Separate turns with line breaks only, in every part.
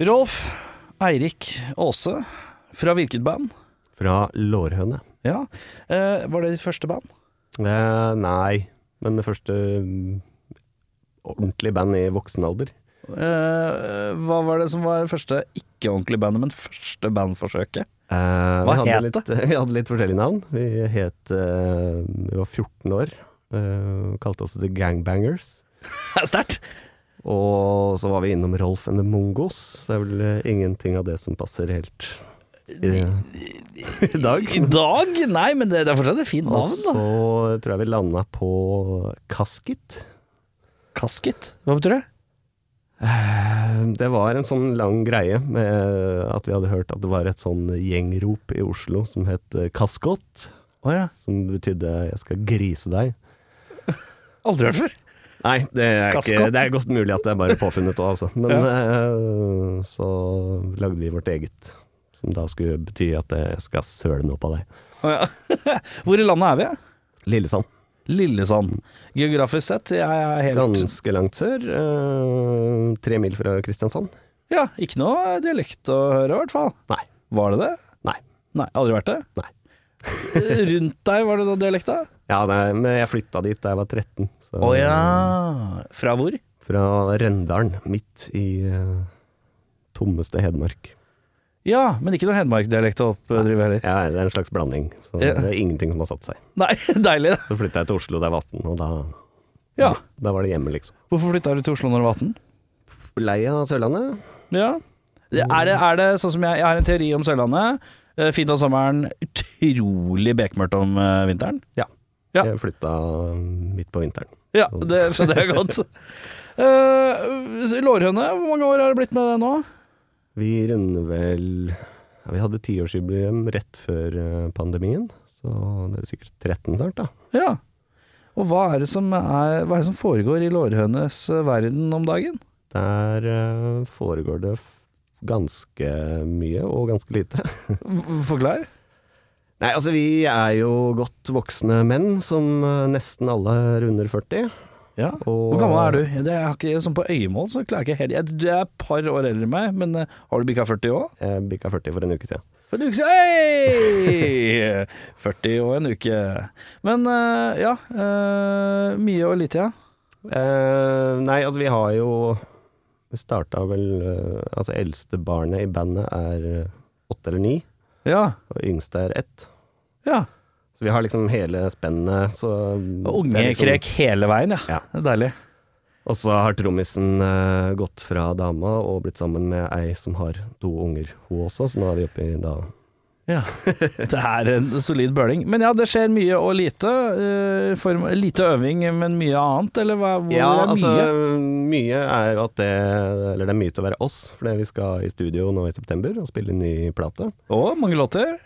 Rolf Eirik Aase fra hvilket band?
Fra Lårhøne.
Ja. Eh, var det ditt første band?
Eh, nei, men det første mm, ordentlige band i voksen alder.
Eh, hva var det som var det første ikke-ordentlige bandet, men første bandforsøket?
Eh,
Hva
vi
het
hadde litt, det? Vi hadde litt forskjellige navn. Vi het eh, Vi var 14 år. eh, kalte oss The Gangbangers.
Sterkt!
Og så var vi innom Rolf and the Mongos. Det er vel eh, ingenting av det som passer helt i, i dag.
I dag? Nei, men det, det er fortsatt et fint
Og
navn,
så
da.
tror jeg vi landa på Kaskit.
Kasket? Hva betyr det?
Det var en sånn lang greie med eh, at vi hadde hørt at det var et sånn gjengrop i Oslo som het eh, kaskott,
Å ja.
som betydde 'jeg skal grise deg'.
Aldri hørt før.
Nei, det er, ikke,
Kaskott?
det er godt mulig at det er bare påfunnet òg, altså. Men eh, så lagde vi vårt eget, som da skulle bety at jeg skal søle noe på deg.
Å ja. Hvor i landet er vi?
Lillesand.
Lillesand. Geografisk sett, jeg er helt
Ganske langt sør. eh, tre mil fra Kristiansand.
Ja, ikke noe dialekt å høre, i hvert fall.
Nei.
Var det det?
Nei.
Nei, aldri vært det?
Nei.
Rundt deg, var det da dialekt, da?
Ja, nei, men jeg flytta dit da jeg var 13. så-
Å ja. Fra hvor?
Fra Rendalen, midt i eh, tommeste Hedmark.
Ja, men ikke noe Hedmark-dialekt å oppdrive heller.
Ja, det er en slags blanding, så
Ja.
det er ingenting som har satt seg.
Nei, deilig.
Så flytta jeg til Oslo da jeg var 18, og da,
Ja.
da var det hjemme, liksom.
Hvorfor flytta du til Oslo når du var 18?
Lei av Sørlandet?
Ja. Det- Er det, er det sånn som jeg, jeg har en teori om Sørlandet. Eh, Fint om sommeren, utrolig bekmørkt om eh, vinteren. Ja.
Jeg flytta midt på vinteren.
Ja, det skjønner jeg godt. Eh, lårhøne, hvor mange år har det blitt med det nå?
Vi runder vel ja, Vi hadde tiårsjubileum rett før eh, pandemien, så det er sikkert 13 snart, da.
Ja. Og hva er det som, er, hva er det som foregår i lårhønes eh, verden om dagen?
Der eh, foregår det f- ganske mye og ganske lite.
V- Forklar.
Nei, altså vi er jo godt voksne menn, som eh, nesten alle runder 40.
Ja.
Og,
Hvor gammel er du? Det er jeg ikke, sånn på øyemål så klarer jeg ikke helt jeg- Du er et par år eldre enn meg, men eh, har du bikka 40 òg?
Jeg bikka 40 for en uke siden.
For en uke siden! Hei! 40 og en uke. Men eh, ja, eh, mye og lite, ja.
Eh, nei, altså vi har jo Vi starta vel eh, Altså eldste barnet i bandet er eh, åtte eller ni,
Ja.
og yngste er ett.
ja.
Så vi har liksom hele spennet, så
Og
det
unge
er liksom-
krek hele veien, ja.
Ja.
Det er deilig.
Og så har trommisen eh, gått fra dama og blitt sammen med ei som har to unger, hun også, så nå er vi oppe i da
Ja. Det er en solid bøling. Men ja, det skjer mye og lite. eh, form, lite øving, men mye annet, eller hva? Hvor
Ja,
er mye?
altså mye er jo at det Eller det er mye til å være oss, fordi vi skal i studio nå i september og spille en ny plate.
Å, mange låter.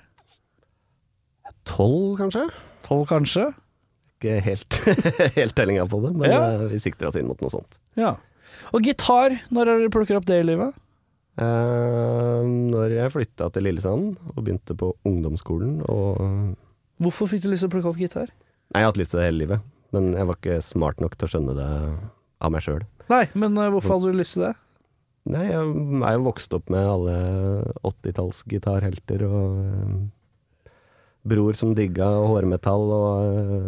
Tolv, kanskje?
Tolv, kanskje.
Ikke helt, helt tellinga på det, men
Ja.
eh, vi sikter oss inn mot noe sånt.
Ja. Og gitar, når er det du plukker opp det i livet?
Eh, når jeg flytta til Lillesand og begynte på ungdomsskolen og Nei,
Hvorfor fikk du lyst til å plukke opp gitar?
jeg har hatt lyst til det hele livet, men jeg var ikke smart nok til å skjønne det av meg sjøl.
Nei, men eh, hvorfor hadde du lyst til det?
Nei, jeg er jo vokst opp med alle 80-tallsgitarhelter og eh, bror som digga hårmetall og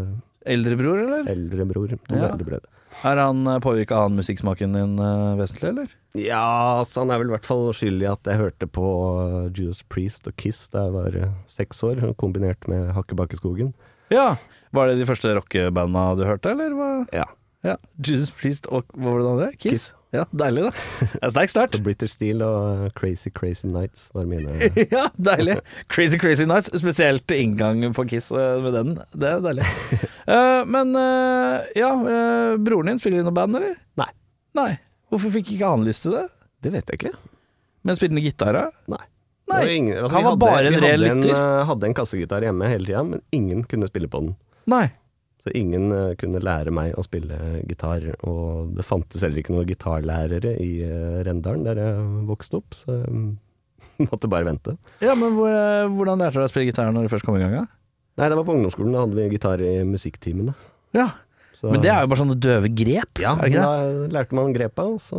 Eldrebror, eller?
eh, eldrebror. To
Ja.
eldre brødre.
Er han påvirka han musikksmaken din eh, vesentlig, eller?
Ja, altså han er vel i hvert fall skyld i at jeg hørte på eh, Judas Priest og Kiss da jeg var eh, seks år, kombinert med Hakkebakkeskogen.
Ja. Var det de første rockebanda du hørte, eller? Hva?
Ja.
ja. Judas Priest og hva var det andre? Kiss?
Kiss.
Ja, deilig, da. Det er sterk start.
Så Britter Steel og eh, Crazy Crazy Nights var mine
Ja, deilig. Crazy Crazy Nights. Spesielt inngang på Kiss eh, med den. Det er deilig. Eh, men eh, ja, eh, broren din spiller i noe band, eller?
Nei.
Nei. Hvorfor fikk ikke han lyst til det?
Det vet jeg ikke.
Men spilte han gitar, da?
Nei.
Nei,
Det ingen- altså,
han
vi
var bare en
vi
reell
hadde en,
lytter.
eh, hadde en kassegitar hjemme hele tida, men ingen kunne spille på den.
Nei.
Så ingen eh, kunne lære meg å spille gitar. Og det fantes heller ikke noen gitarlærere i eh, Rendalen der jeg vokste opp, så jeg måtte bare vente.
Ja, men hvor, eh, Hvordan lærte du deg å spille gitar når du først kom i gang? da?
Nei, det var på ungdomsskolen. Da hadde vi gitar i musikktimene.
Ja,
Så-
Men det er jo bare sånne døve grep.
Ja,
er det ikke det?
da lærte man grepa, og så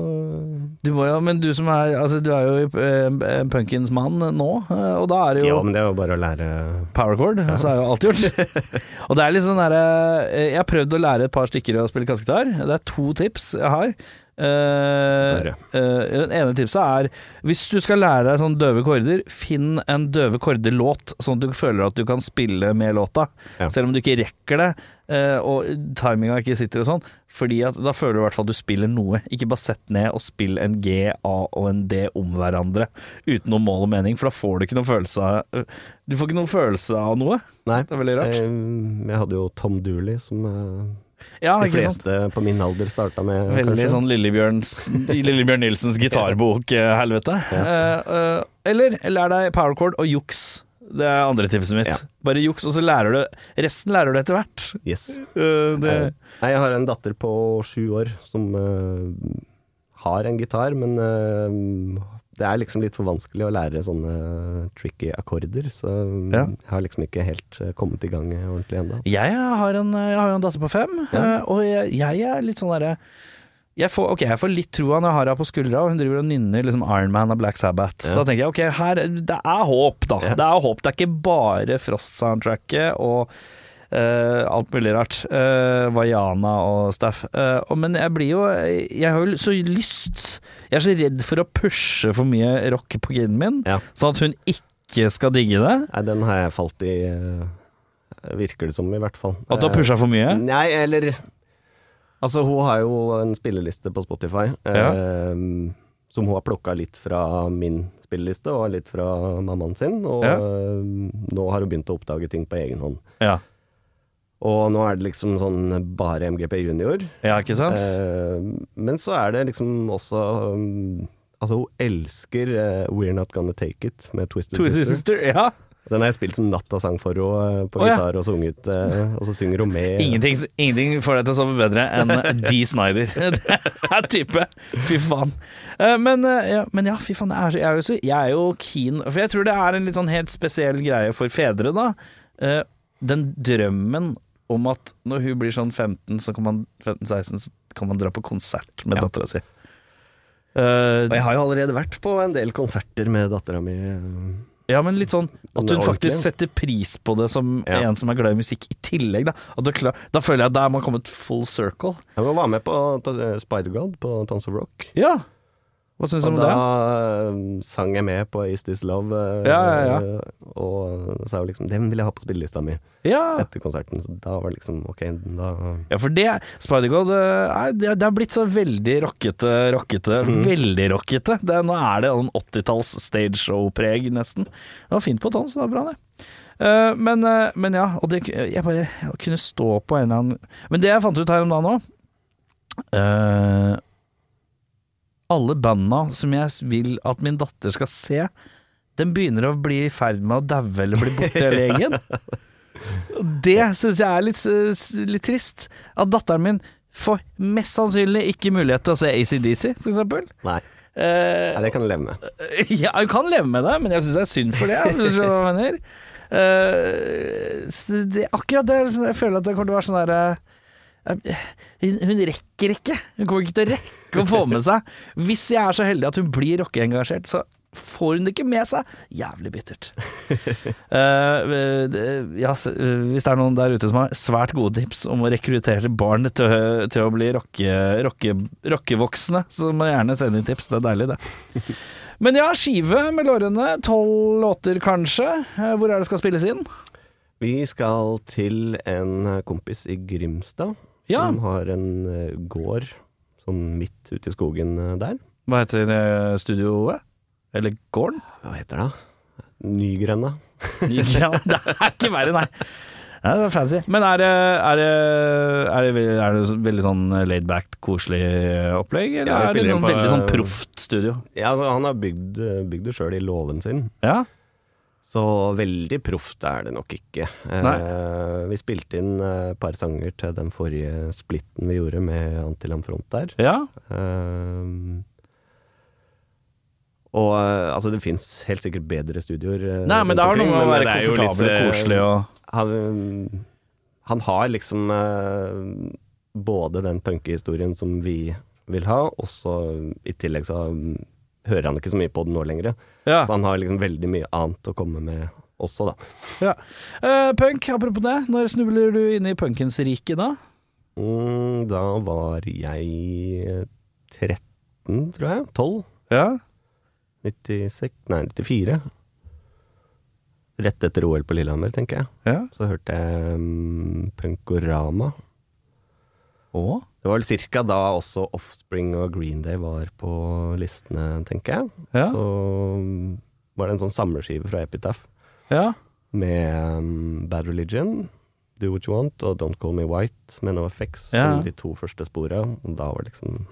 Du må jo, men du som er altså, Du er jo eh, punkens mann nå, eh, og da er det jo
Ja, men det er jo bare å lære
Powercord, så er jo alt gjort. og det er litt sånn derre Jeg har prøvd å lære et par stykker å spille kassegitar. Det er to tips jeg har. Eh,
Få høre.
eh, den ene tipset er hvis du skal lære deg sånne døve korder, finn en døve korder-låt, sånn at du føler at du kan spille med låta.
Ja.
Selv om du ikke rekker det, eh, og timinga ikke sitter og sånn. Fordi at da føler du i hvert fall at du spiller noe. Ikke bare sett ned og spill en G, A og en D om hverandre uten noe mål og mening, for da får du ikke noen følelse av eh, Du får ikke noen følelse av noe.
Nei.
Det er veldig rart.
eh, Jeg hadde jo Tom Dooley, som eh,
Ja, Ah,
de
ikke sant?
fleste på min alder starta med.
Veldig
kanskje.
sånn Lillebjørns, Lillebjørn Nilsens eh, gitarbok-helvete. Eh, eller lær deg powercord og juks. Det er andre tipset mitt.
Ja.
Bare juks, og så lærer du Resten lærer du etter hvert.
Yes.
Eh, det,
Eh, Nei, jeg har en datter på sju år som eh, har en gitar, men eh, det er liksom litt for vanskelig å lære sånne tricky akkorder, så
Ja.
jeg har liksom ikke helt eh, kommet i gang ordentlig ennå.
jeg, har en, jeg har jo en datter på fem, eh, og jeg, jeg er litt sånn derre jeg får, ok, jeg får litt trua når jeg har henne på skuldra, og hun driver og nynner liksom Iron Man og Black Sabbath.
Ja.
Da tenker jeg ok, her, det er håp, da.
Ja.
Det er håp. Det er ikke bare Frost-soundtracket og eh, alt mulig rart. Eh, Vaiana og stuff. Eh, og, men jeg blir jo Jeg har jo så lyst Jeg er så redd for å pushe for mye rock på kiden min,
Ja.
sånn at hun ikke skal digge det.
Nei, den har jeg falt i, eh, virker det som i hvert fall.
At du har pusha for mye.
Nei, eller Altså, hun har jo en spilleliste på Spotify
Ja.
eh, som hun har plukka litt fra min spilleliste og litt fra mammaen sin, og
Ja.
eh, nå har hun begynt å oppdage ting på egen hånd.
Ja,
Og nå er det liksom sånn bare MGP junior.
ja ikke sant?
Eh, men så er det liksom også um, Altså, hun elsker eh, We're Not Gonna Take It med Twisted
Twisted
Sister.
Sister, ja.
Den har jeg spilt som nattasang for henne eh, på
Å, ja.
gitar og sunget, eh, og så synger hun med.
Ingenting, ingenting får deg til å sove bedre enn Dee Snyder. Det er type. Fy faen. Eh, Men, eh, ja, men ja, fy faen. Jeg er, så- jeg er, jo, så- jeg er jo keen For jeg tror det er en litt sånn helt spesiell greie for fedre, da. Eh, Den drømmen om at når hun blir sånn 15, så kan man 15-16, så kan man dra på konsert med
Ja.
dattera si.
Og jeg
Eh,
har jo allerede vært på en del konserter med dattera mi. eh,
ja, men litt sånn at
Det er
hun faktisk
ordentlig.
setter pris på det som
Ja.
en som er glad i musikk, i tillegg. Da, at du er klar, da føler jeg at da er man kommet full circle.
Jeg var med på eh, Spider-God på Tons of Rock.
Ja. Hva syns du om
Og
det?
da eh, sang jeg med på Is This Love, eh,
Ja, ja, ja.
og sa jo liksom Den vil jeg ha på spillelista mi
Ja.
etter konserten. Så da var det liksom ok, da
ja, for det Spider-God eh, er- det, det er blitt så veldig rockete, rockete, veldig rockete. Det, nå er det en 80-talls stage show-preg, nesten. Det var fint på tann, så det var bra, det. Eh, men, eh, men ja, og det Jeg bare jeg kunne stå på en eller annen Men det jeg fant ut her om dagen òg Alle banda som jeg vil at min datter skal se, den begynner å bli i ferd med å daue eller bli borte i legen. Og Det syns jeg er litt, eh, s- litt trist. At datteren min får mest sannsynlig ikke mulighet til å se ACDC, for eksempel.
Nei.
Eh,
Nei, det kan jeg leve med.
ja, hun kan leve med det, men jeg syns det er synd for det. hvis du skjønner hva jeg mener. Eh, så det, akkurat det jeg føler at det kommer til å være sånn derre hun, hun rekker ikke. Hun kommer ikke til å rekke å få med seg. Hvis jeg er så heldig at hun blir rockeengasjert, så får hun det ikke med seg. Jævlig bittert. Eh, det- ja, s- eh, hvis det er noen der ute som har svært gode tips om å rekruttere barn til, å- til å bli rocke- rocke- rockevoksne, så må jeg gjerne sende inn tips. Det er deilig, det. Men ja, skive med lårene. Tolv låter, kanskje. Eh, Hvor er det skal spilles inn?
Vi skal til en kompis i Grimstad
Ja.
som har en eh, gård sånn midt ute i skogen eh, der.
Hva heter eh, studioet? Eller gården?
Hva heter det? Nygrenda.
Nygran. Det er ikke verre, nei. Ja, det er fancy. Men er det, er det, er det, veldig- er det veldig sånn laidback, koselig eh, opplegg, eller
Ja, vi
er det
spiller
sånn,
på-
veldig sånn proft studio?
Ja, altså, han har bygd, bygd det sjøl i låven sin,
Ja,
så veldig proft er det nok ikke. Eh, vi spilte inn eh, et par sanger til den forrige splitten vi gjorde med Antilamfront der.
ja.
Eh, og eh, altså, det fins helt sikkert bedre studioer. eh,
Nei, men
rundt
det har noe
omkring,
med å
men
være
det er jo litt,
komfortabel og
eh,
koselig og
han, han har liksom eh, både den punkehistorien som vi vil ha, og så i tillegg så mm, hører han ikke så mye på den nå lenger.
ja.
Så han har liksom veldig mye annet å komme med også, da.
ja. Eh, punk, apropos det, når snubler du inn i punkens rike da?
Mm, da var jeg 13, tror jeg. 12?
Ja.
96? Nei, 94. Rett etter OL på Lillehammer, tenker jeg.
ja.
Så hørte jeg mm, Punkorama.
Og?
Det var vel ca. da også Offspring og Green Day var på listene, tenker jeg.
Ja.
Så var det en sånn samleskive fra Epitaph
Ja.
med um, Bad Religion, Do What You Want og Don't Call Me White med NoFX
Ja.
som de to første spora. Og da var det liksom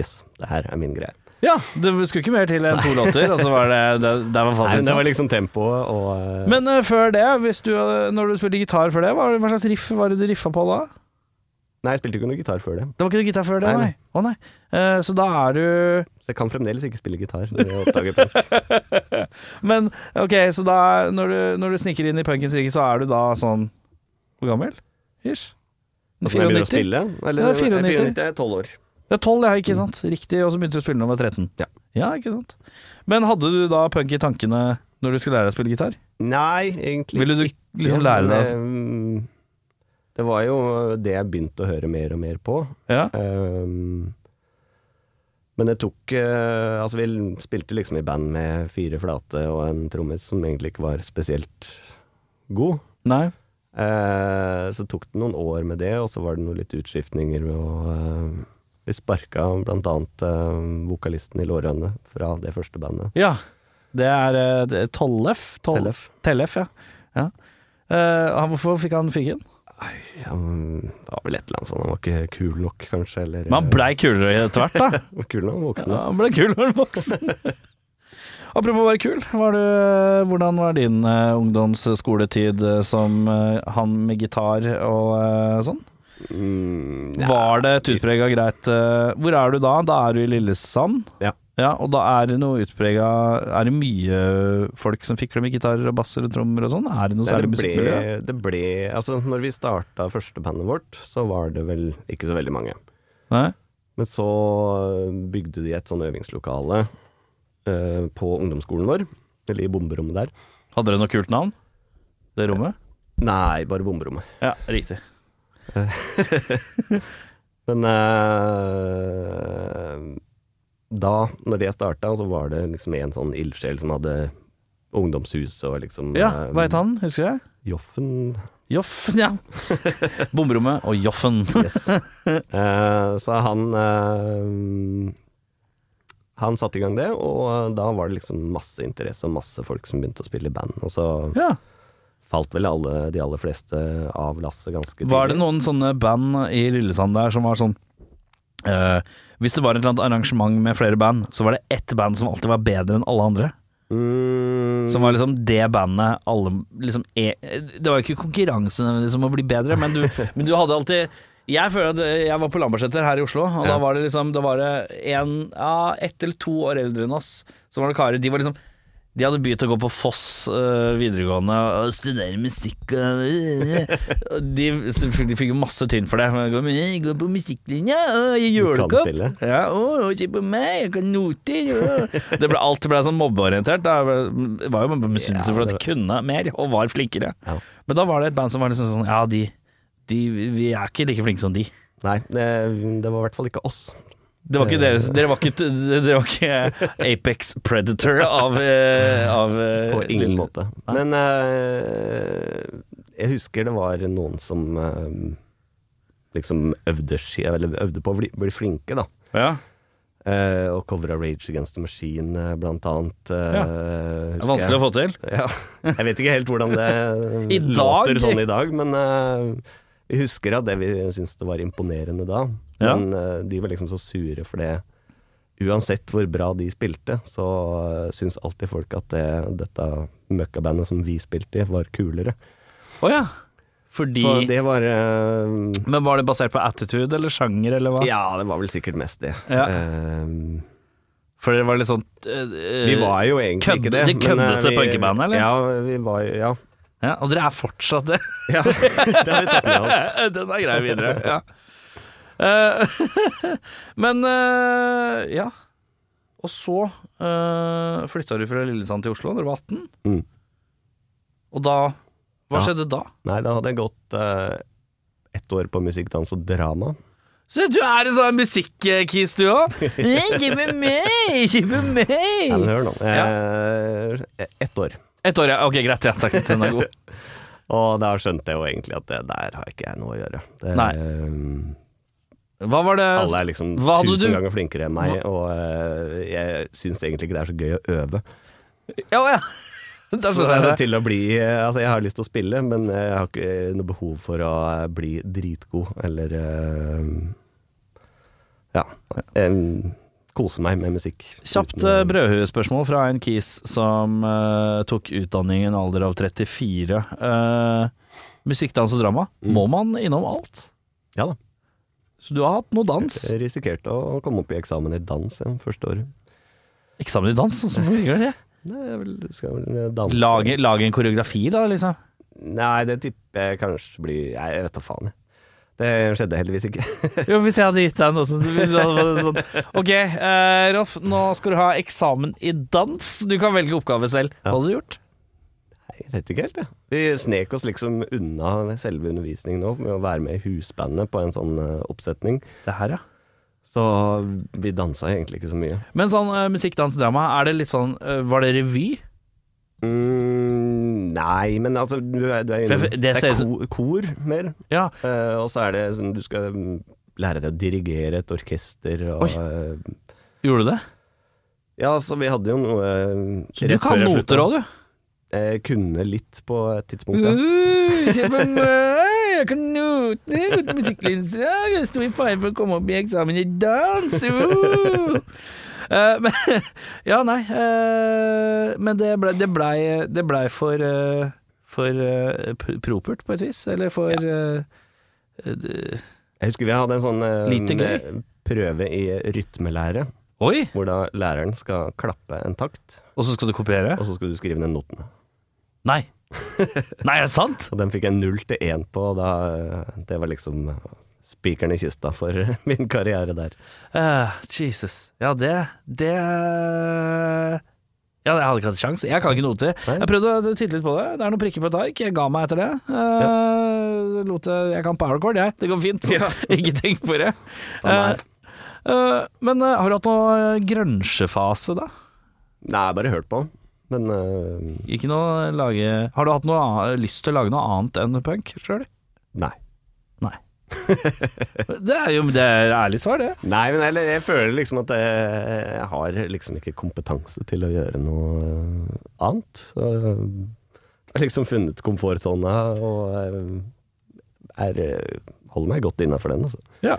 Yes, det her er min greie.
Ja, det skulle ikke mer til enn to låter, og så var det, det, det var
Nei, men
fasiten.
det var
sant?
liksom tempoet og eh,
Men eh, før det, hvis du, hadde- når du spilte gitar før det, hva, hva slags riff var det du riffa på da?
Nei, jeg spilte ikke noe gitar før det,
Det var ikke gitar før det, nei.
Nei, nei.
Å nei. Eh, så da er du
så jeg kan fremdeles ikke spille gitar. Når jeg oppdager punk.
Men ok, så da er- når du, når du sniker inn i punkens rike, så er du da sånn Hvor gammel? Ish?
Altså, når jeg
94?
begynner å spille, eller,
Det er 94.
94 er 12 år.
Det er 12, ja, ikke sant? Riktig, og så begynte du å spille når du var 13.
Ja.
ikke sant. Men hadde du da punk i tankene når du skulle lære deg å spille gitar?
Nei, egentlig
Ville du liksom lære deg
det? um, Det var jo det jeg begynte å høre mer og mer på.
Ja.
Ehm, men det tok eh, Altså, vi spilte liksom i band med fire flate og en trommis som egentlig ikke var spesielt god.
Nei.
Eh, så tok det noen år med det, og så var det noen litt utskiftninger med å eh, Vi sparka blant annet eh, vokalisten i lårene fra det første bandet.
Ja. Det er eh, det er Tollef. Toll-
Tellef.
Tellef, ja. ja. Eh, han- hvorfor fikk han fyken?
Han var vel et eller annet sånn, han var ikke kul nok, kanskje, eller
Men han blei kulere etter hvert, da.
eh, Kul nok, voksen.
Ja, han ble kul når han var voksen. Apropos å være kul, var du, hvordan var din eh, ungdomsskoletid eh, som eh, han med gitar og eh, sånn?
Mm, ja.
Var det et utprega greit eh, Hvor er du da? Da er du i Lillesand.
Ja.
og da er det noe utprega Er det mye folk som fikler med gitarer og basser og trommer og sånn? Er det noe
Nei,
særlig
det, ble,
musikkmiljø?
det ble Altså, når vi starta første bandet vårt, så var det vel ikke så veldig mange.
Nei?
Men så bygde de et sånn øvingslokale eh, på ungdomsskolen vår, eller i bomberommet der.
Hadde dere noe kult navn? Det rommet?
Nei, bare bomberommet.
Ja, riktig.
Men eh, da, når det starta, så var det liksom en sånn ildsjel som hadde ungdomshus og liksom
Ja,
eh,
hva het han? Husker du det?
Joffen.
Joffen, ja. Bomrommet og Joffen.
Yes. Eh, så han eh, Han satte i gang det, og da var det liksom masse interesse og masse folk som begynte å spille i band. Og så
Ja.
falt vel alle, de aller fleste av lasset ganske tidlig.
Var det noen sånne band i Lillesand der som var sånn eh, Hvis det var et eller annet arrangement med flere band, så var det ett band som alltid var bedre enn alle andre.
Mm,
Som var liksom det bandet alle liksom er, Det var jo ikke konkurranse nødvendigvis om å bli bedre, men du, men du hadde alltid jeg føler at jeg var på Lambertseter her i Oslo, og da
Ja.
var det liksom Da var det en, ja, ett eller to år eldre enn oss, som var det karer. De var liksom De hadde begynt å gå på Foss øh, videregående og studere musikk og og De, så fikk- de fikk jo masse tynn for det. Men jeg går, men jeg går på musikklinja, og jeg
Du
gjør
kan
det ikke
spille.
ja, å, se på meg, jeg kan noter å. Det ble, Alt ble sånn mobbeorientert. da. Det var jo misunnelse for at de kunne mer, og var flinkere.
Ja.
Men da var det et band som var liksom sånn Ja, de, de Vi er ikke like flinke som de.
Nei, det, det var i hvert fall ikke oss.
Det var ikke deres,
Eh.
dere var ikke, dere var ikke Apex Predator av, eh, av eh,
På ingen
lille-
måte.
Nei.
Men eh, jeg husker det var noen som eh, liksom øvde, ski- eller øvde på å bli, bli flinke, da.
Ja.
eh, og cover av Rage Against the Machine, eh, blant annet.
Ja. Det er vanskelig å få til.
Ja. Jeg vet ikke helt hvordan det
I dag?
låter sånn i dag, men eh, vi husker at det vi syntes det var imponerende da.
Ja.
Men eh, de var liksom så sure for det. Uansett hvor bra de spilte, så uh, syns alltid folk at det, dette møkkabandet som vi spilte i, var kulere.
Å ja. Fordi
Så det var eh,
Men var det basert på attitude eller sjanger, eller hva?
Ja, det var vel sikkert mest det.
Ja.
Eh,
For det var litt sånn
vi var jo egentlig
kødde-
ikke det.
de kødde
men, eh,
til
vi-
punkebandet, eller?
Ja, vi var Ja.
eh, ja, Og dere er fortsatt det?
ja. det har vi tatt med oss.
Eh, Den er grei videre. Ja. Eh, men eh, ja. Og så uh, flytta du fra Lillesand til Oslo da du var 18.
Mm.
Og da Hva
Ja.
skjedde da?
Nei, da hadde jeg gått eh, ett år på musikk, dans og drama.
Se, du er en sånn musikkis, du òg. Gi meg meg! Gi meg
Nei, men
meg!
hør nå. Eh, Ett år.
Ett år, ja. Ok, greit. Ja, takk. Den er god.
Og da skjønte jeg jo egentlig at det der har ikke jeg noe å gjøre. Det,
Nei.
eh,
Hva var det
alle er liksom
Hva hadde
tusen
du-
ganger flinkere enn meg, og eh, jeg syns egentlig ikke det er så gøy å øve.
Ja, ja. Da
Så
skjønner jeg det.
til å bli eh, Altså, jeg har lyst til å spille, men eh, jeg har ikke noe behov for å eh, bli dritgod eller eh, Ja. em, kose meg med musikk.
Kjapt
Uten å-
eh, brødhuespørsmål fra en kis som eh, tok utdanning i en alder av 34. Eh, musikk, dans og drama. Må man innom alt?
Ja da.
Så du har hatt noe dans?
Jeg risikerte å komme opp i eksamen i dans igjen første året.
Eksamen i dans, altså, hvordan fungerer det?
Nei, jeg vil, skal vel eh, danse
Lage, lage en koreografi, da, liksom?
Nei, det tipper jeg kanskje blir Nei, Jeg vet da faen, jeg. Det skjedde heldigvis ikke.
Jo, hvis jeg hadde gitt deg noe sånt hvis du hadde, sånn. Ok, uh, Rolf, nå skal du ha eksamen i dans. Du kan velge oppgave selv. Hva hadde du gjort?
Nei, jeg vet ikke helt, jeg. Vi snek oss liksom unna selve undervisningen nå med å være med i husbandet på en sånn eh, oppsetning.
Se her, ja.
Så vi dansa egentlig ikke så mye.
Men sånn eh, musikk, dans, drama, er det litt sånn eh, Var det revy?
Mm, nei, men altså du er, du er
For
inne
jeg- det
Det
ser
er
ut som-
ko, kor mer.
Ja.
Eh, og så er det sånn du skal mm, lære deg å dirigere et orkester og
Oi.
eh,
Gjorde du det?
Ja, så vi hadde jo noe
Så du kan noter òg, du.
Jeg kunne litt på et tidspunkt, ja.
Uh, se på meg, eh, jeg kan note godt musikklinse. Jeg sto i fare for å komme opp i eksamen i dans. Uh. Eh, men, ja, nei. eh, men det blei det ble, det ble for, eh, for eh, p- propert, på et vis. Eller for eh, eh, d-
Jeg husker vi hadde en sånn eh,
Lite gøy.
prøve i rytmelære,
Oi!
hvor da læreren skal klappe en takt,
Og så skal du kopiere?
og så skal du skrive ned notene.
Nei. Nei, er det sant?
Og den fikk jeg null til én på, og da eh, Det var liksom spikeren i kista for min karriere der.
Eh, Jesus. Ja, det Det Ja, jeg hadde ikke hatt sjans. Jeg kan ikke noter.
Nei.
Jeg prøvde å titte litt på det. Det er noen prikker på et ark. Jeg ga meg etter det. Eh, lot det jeg kan powercord, jeg. Det går fint. ikke tenk på det.
Nei.
Eh, eh, men eh, har du hatt noe grønsjefase, da?
Nei, jeg bare hørt på. Men eh,
Ikke noe lage Har du hatt noe annet, lyst til å lage noe annet enn punk sjøl?
nei.
Nei. det er jo det er ærlig svar, det.
Nei, men jeg, jeg føler liksom at jeg, jeg har liksom ikke kompetanse til å gjøre noe eh, annet. Så jeg har liksom funnet komfortsona og eh, er, eh, holder meg godt innafor den, altså.
Ja.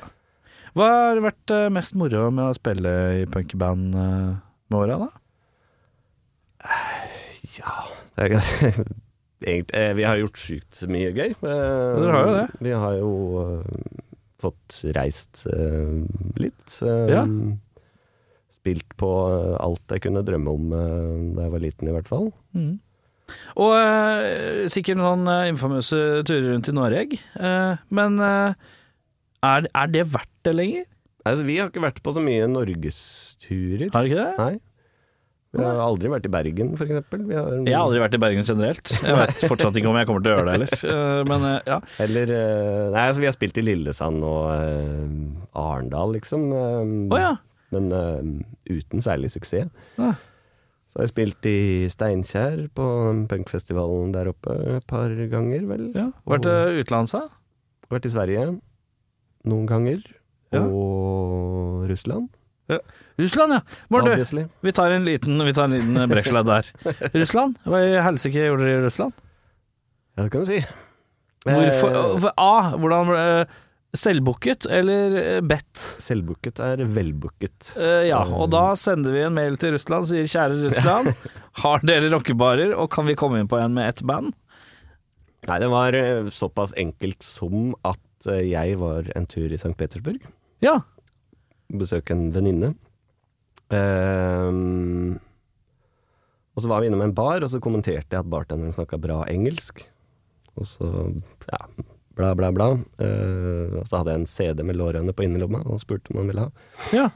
Hva har vært eh, mest moro med å spille i punkband eh, med åra, da?
Ja det er ikke- Egentlig, eh, Vi har gjort sjukt mye gøy. Eh,
dere har jo det.
Vi har jo eh, fått reist eh, litt. eh,
Ja.
Spilt på eh, alt jeg kunne drømme om eh, da jeg var liten, i hvert fall.
Mm. Og eh, sikkert noen eh, infamøse turer rundt i Norge. eh, men eh, er, er det verdt det lenger?
Altså, vi har ikke vært på så mye norgesturer.
Har det ikke det?
Nei. Vi har aldri vært i Bergen, for eksempel. Vi har,
Jeg har aldri vært i Bergen generelt. Jeg vet fortsatt ikke om jeg kommer til å gjøre det heller. Eh, men eh, ja.
Eller eh, Nei, altså, vi har spilt i Lillesand og eh, Arendal, liksom. eh,
Å ja.
Men eh, uten særlig suksess.
Nei.
Så har jeg spilt i Steinkjer, på punkfestivalen der oppe, et par ganger, vel.
ja. Vært uh, utenlands, da?
Vært i Sverige noen ganger.
Ja.
Og Russland.
Russland, ja. Bård, du,
Obviously.
vi tar en liten, vi tar en liten breksla der. Russland? Hva i helsike gjorde dere i Russland?
Ja, det kan du si.
Hvorfor,
Eh,
for- A. Hvordan eh, Selvbooket eller eh, bedt?
Selvbooket er velbooket.
Eh, ja, og da sender vi en mail til Russland, sier kjære Russland, har dere rockebarer, og kan vi komme inn på en med ett band?
Nei, det var eh, såpass enkelt som at eh, jeg var en tur i St. Petersburg.
Ja.
Besøke en venninne. Ehm, og så var vi innom en bar, og så kommenterte jeg at bartenderen snakka bra engelsk. Og så ja, bla, bla, bla. Eh, og så hadde jeg en CD med lårhøne på innerlomma og spurte om han ville ha.
ja.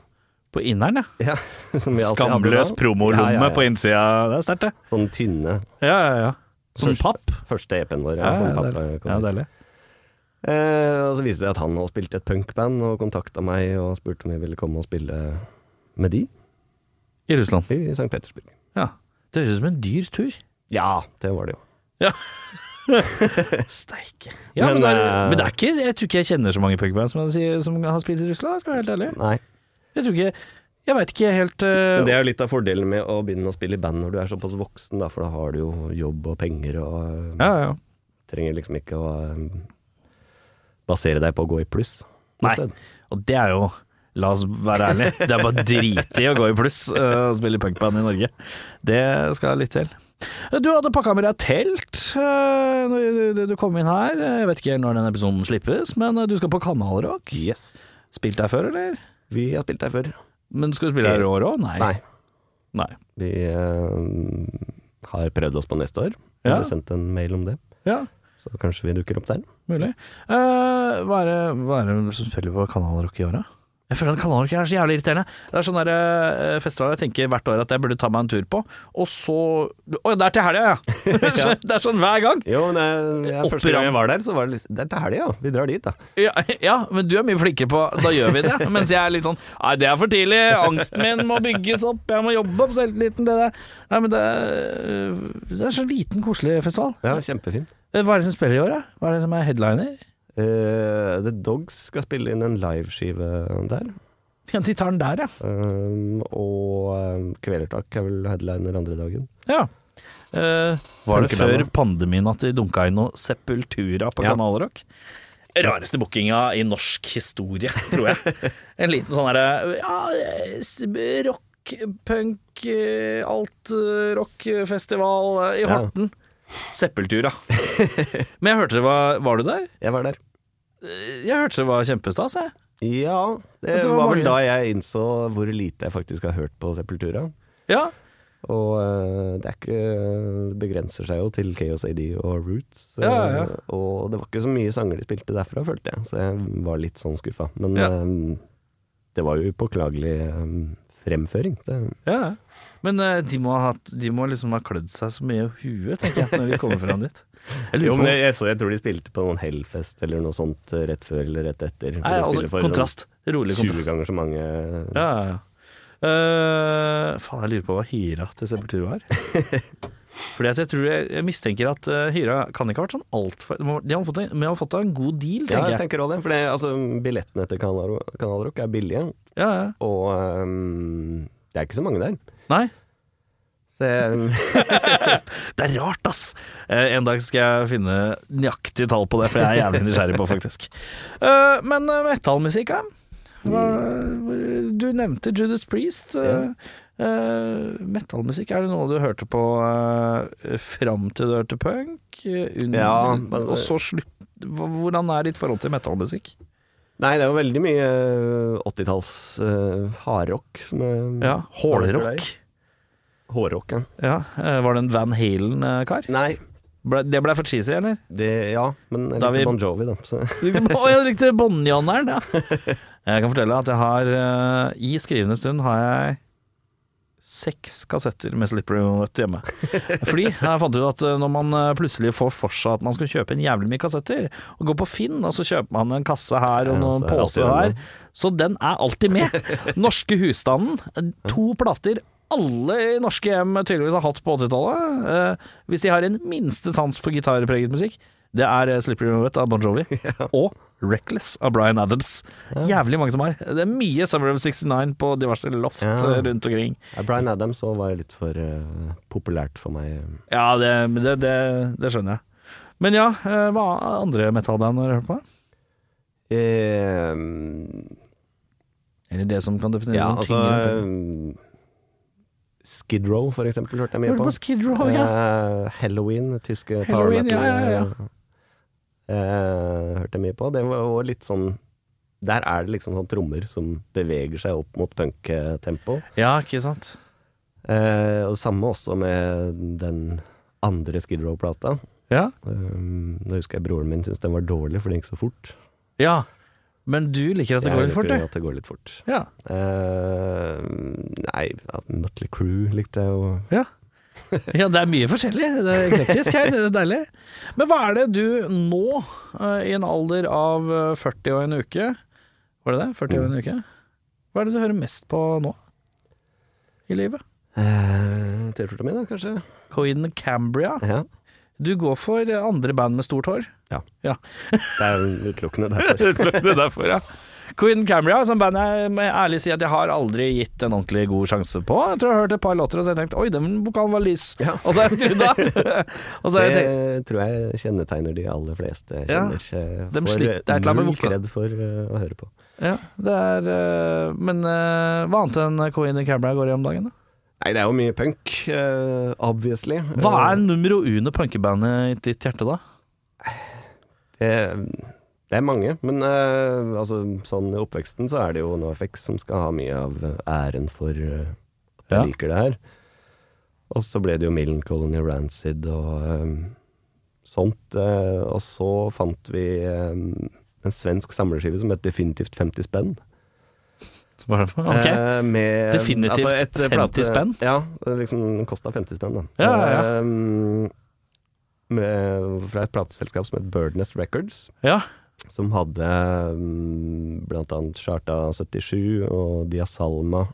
På inneren, ja.
Ja, som vi alltid hadde
Skamløs
da.
promolomme
Ja, ja, ja.
på innsida. Det er sterkt, det.
Sånn tynne.
Ja, ja, ja. Som
Første-
papp.
Første EP-en vår. Ja,
Ja,
som
ja,
pappa
deilig.
kom
ja,
ut.
deilig.
Eh, og så viste det seg at han også spilte et punkband, og kontakta meg og spurte om jeg ville komme og spille med de
I Russland.
i St. Petersburg.
Ja. Det høres ut som en dyr tur.
Ja, det var det jo.
Steike. Ja, men,
Men,
det er,
eh,
men det er ikke Jeg tror ikke jeg kjenner så mange punkband som, jeg sier- som har spilt i Russland, jeg skal være helt ærlig.
Nei.
Jeg tror ikke Jeg veit ikke helt eh,
Men det er jo litt av fordelen med å begynne å spille i band når du er såpass voksen, da, for da har du jo jobb og penger og eh,
Ja, ja.
trenger liksom ikke å eh, basere deg på å gå i pluss.
Nei.
Sted.
Og det er jo La oss være ærlige, det er bare drit i å gå i pluss eh, og spille punkband i Norge. Det skal litt til. Du hadde pakka med deg telt eh, når du- du kom inn her. Jeg vet ikke når den episoden slippes, men eh, du skal på Kanalrock.
Yes.
Spilt der før, eller?
Vi har spilt der før.
Men skal du spille her i år òg? Nei.
Nei.
Nei.
Vi eh, har prøvd oss på neste år. Vi
Ja.
har sendt en mail om det,
Ja,
så kanskje vi dukker opp der.
mulig. Eh, hva er det- hva er det som spiller på Kanalrock i år, da? Jeg føler at Kanalrock er så jævlig irriterende. Det er sånn der, eh, festival jeg tenker hvert år at jeg burde ta meg en tur på, og så Å, det er til helga, ja! det er sånn hver gang.
Jo, men eh, jeg, jeg, første gang jeg var der, så var det liksom Det er til helga, ja. vi drar dit, da.
Ja, ja, men du er mye flinkere på Da gjør vi det. Mens jeg er litt sånn Nei, det er for tidlig. Angsten min må bygges opp. Jeg må jobbe opp selvtilliten. Det der. Nei, men det er, det er så liten, koselig festival.
Ja, kjempefin.
Eh, Hva er det som spiller i år, da? Hva er det som er headliner?
Eh, The Dogs skal spille inn en liveskive der.
Ja, de tar den der, ja. Ehm,
Um, og um, Kvelertak er vel headliner andre dagen.
ja. Eh, var det før
Punkebandet.
pandemien at de dunka inn noe Sepultura på
Ja.
Kanalrock? Rareste bookinga i norsk historie, tror jeg. En liten sånn derre ja, s- rock, punk, eh, alt eh, rockfestival eh, i
Ja.
Horten. Sepultura. Men jeg hørte det var Var du der?
Jeg var der.
Jeg hørte det var kjempestas, jeg.
Ja, det,
Det var
var,
mange.
vel da jeg innså hvor lite jeg faktisk har hørt på Sepultura.
Ja.
Og eh, det er ikke Det begrenser seg jo til Chaos AD og Roots. eh,
Ja, ja.
Og det var ikke så mye sanger de spilte derfra, følte jeg, så jeg var litt sånn skuffa. Men
Ja.
eh, det var jo upåklagelig eh, fremføring. Det,
ja. Men eh, de må, ha, hatt- de må liksom ha klødd seg så mye i huet, tenker jeg, når de kommer fram dit. Jeg lurer
jo,
på
men
om-
jeg, jeg, så, jeg tror de spilte på noen Hellfest eller noe sånt eh, rett før eller rett etter.
Nei,
De spiller
altså
for
kontrast.
sånn
Rolig
20
kontrast.
ganger så mange
Ja, ja, ja. Eh, faen, jeg lurer på hva hyra til Sepultura er. Fordi at jeg tror jeg, jeg mistenker at eh, hyra kan ikke ha vært sånn altfor De har fått en, men de har fått en god deal,
Ja,
tenker
jeg
jeg.
tenker også det. For det, altså, billettene til Kanal Kanal Rock er billige,
Ja, ja.
og ehm, det er ikke så mange der.
Nei,
Så jeg,
det er rart, ass! Eh, en dag skal jeg finne nøyaktige tall på det, for jeg er jævlig nysgjerrig på, faktisk. Eh, men uh, metallmusikk, ja? Hva- Du nevnte Judas Priest.
Ja.
Uh, metallmusikk, er det noe du hørte på eh, fram til du hørte punk? Eh, Under,
Ja, men-
og så slutt... hva- Hvordan er ditt forhold til metallmusikk?
Nei, det er jo veldig mye eh, 80-talls eh, hardrock. som er-
Ja, Hålrock.
Hårrock, ja.
Ja, eh, var det en Van Halen-kar?
Nei,
Ble, det ble for cheesy, eller?
det, ja, men jeg
Da
likte
er vi-
Bon Jovi, da. Så.
Å, jeg likte båndjanneren, ja. Jeg kan fortelle at jeg har eh, I skrivende stund har jeg seks kassetter med Slippery Nut hjemme. Fordi jeg fant ut at eh, når man eh, plutselig får for seg at man skal kjøpe en jævlig mye kassetter, og går på Finn, og så kjøper man en kasse her og
Ja,
noen
så er det
pose
alltid
her,
den,
så den er alltid med. Norske husstanden, eh, to plater. Alle i norske hjem tydeligvis har hatt på 80-tallet, eh, hvis de har en minste sans for gitarpreget musikk. Det er eh, Slippery Nut av Bon Jovi, og Reckless av Bryan Adams. Jævlig mange som har. Det er mye Summer of 69 på diverse loft
Ja.
eh, rundt omkring.
Ja, Bryan Adams òg var litt for eh, populært for meg.
Ja, det, men det, det, det skjønner jeg. Men ja, eh, hva andre metalband har du hørt på?
Eh,
Eller det som kan defineres
ja,
som
altså
tyngre.
eh, Skid Row, for eksempel, hørte jeg mye
Hørte
på.
på Skid Row, ja.
Eh, Halloween, tyske power
Halloween,
metal.
ja, ja, ja.
eh, hørte jeg mye på. Det var jo litt sånn Der er det liksom sånn trommer som beveger seg opp mot punktempo.
ja, ikke sant?
Eh, og det samme også med den andre Skid Row-plata.
Ja.
Um, da husker jeg broren min syntes den var dårlig, for den gikk så fort.
ja. Men du liker at det
Jeg
går litt fort,
liker
du?
At det går litt fort.
Ja.
Eh, nei, ja, Mutley Crew likte jeg jo.
Ja. ja, det er mye forskjellig. Det er eklektisk her, det er deilig. Men hva er det du nå, eh, i en alder av eh, 40 og en uke Var det det? 40
Mm.
og en uke? Hva er det du hører mest på nå i livet?
Eh, T-skjorta mi, da, kanskje?
Coin Cambria.
Ja.
Du går for andre band med stort hår?
Ja.
ja.
Det er jo utelukkende derfor.
Det er derfor, ja. Queen Camera, som bandet jeg må ærlig si at jeg har aldri gitt en ordentlig god sjanse på. Jeg tror jeg har hørt et par låter og så har jeg tenkt oi, den vokalen var lys,
Ja.
og så har jeg skrudd av. og så har jeg tenkt
Det tror jeg kjennetegner de aller fleste jeg
Ja.
kjenner. eh,
Dem
for, eh,
sliter et eller annet med
null
voka.
kredd for eh, å høre på.
ja, det er, eh, Men eh, hva annet enn Queen Camera går i om dagen, da?
Nei, det er jo mye punk, eh, obviously. Eh,
Hva er numero uno punkebandet i ditt hjerte, da?
Det, det er mange, men eh, altså, sånn i oppveksten så er det jo NoFX som skal ha mye av eh, æren for eh, at jeg
Ja.
liker det her. Og så ble det jo Millen Colony Rancid og eh, sånt. eh, og så fant vi eh, en svensk samleskive som het Definitivt 50 spenn.
Hva er det for? Ok.
Eh, med, altså,
Definitivt 50 spenn?
Ja, det liksom den kosta 50 spenn, da.
Ja, ja, ja.
Eh, med, fra et plateselskap som het Birdnest Records
Ja.
som hadde mm, blant annet Charta 77 og Diasalma.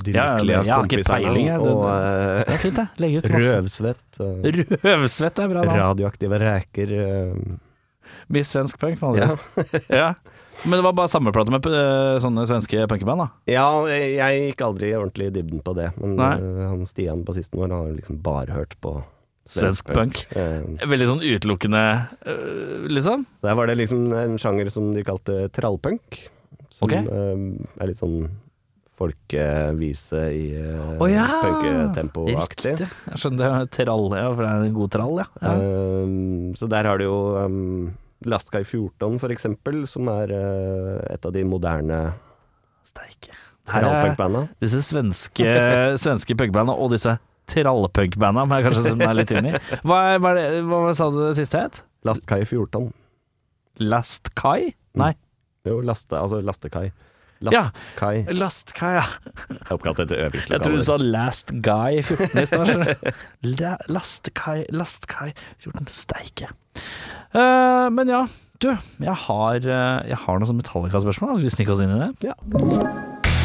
De
Ja, ja,
lykkelige
jeg har ikke
kompisene,
peiling, jeg. Det-
Og
Det er fint, det. Legg
eh,
ut masse.
Røvsvett. og
Røvsvett er bra navn.
radioaktive ræker. eh,
Mye svensk punk, med andre
ja.
ord. Ja. Men det var bare samleplate med eh, sånne svenske punkeband, da.
ja, jeg jeg gikk aldri ordentlig i dybden på det, men
Nei.
eh, han Stian bassisten vår har liksom bare hørt på
Svensk punk.
Eh,
Veldig sånn utelukkende, øh, liksom.
Så der var det liksom en sjanger som de kalte trallpunk, som
Ok.
eh, er litt sånn folkevise i eh,
Å ja!
punketempo-aktig.
Jeg skjønner det er trall, ja, for det er en god trall, ja. ja.
Um, så der har du jo um, Lastkaj 14 for eksempel, som er eh, et av de moderne
Steike. Her er
trallpunkbanda.
disse svenske, svenske punkbandene og disse trallpunkbandene, må jeg kanskje sette meg litt inn i. Hva, er- hva, er det, hva var- sa du det siste het?
Lastkai 14.
Last Kai? Nei.
Jo, laste, altså lastekai.
Ja.
Lastkai. Ja.
Last Kai, ja.
Jeg er oppkalt etter
Jeg tror du
øvingslokalen.
sa Last Guy 14 i stad. La, last Kai, Last Kai 14. Steike. Eh, men ja, du. Jeg har, eh, jeg har noen sånne Metallica-spørsmål. da. Skal vi snike oss inn i det?
Ja.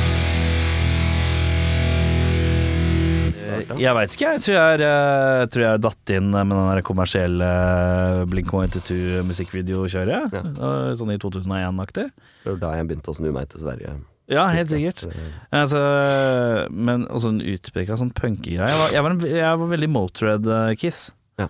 Eh, Jeg veit ikke, jeg tror jeg, er, eh, tror jeg er datt inn med den der kommersielle eh, Blink-182-musikkvideokjøret.
Ja.
eh, Sånn i 2001-aktig.
Det var da jeg begynte å snu meg til Sverige.
Ja, helt sikkert.
Eh,
Altså, men også en utpreka sånn punkegreie. Jeg, var- jeg, var en- jeg var veldig Motred-kiss.
Ja.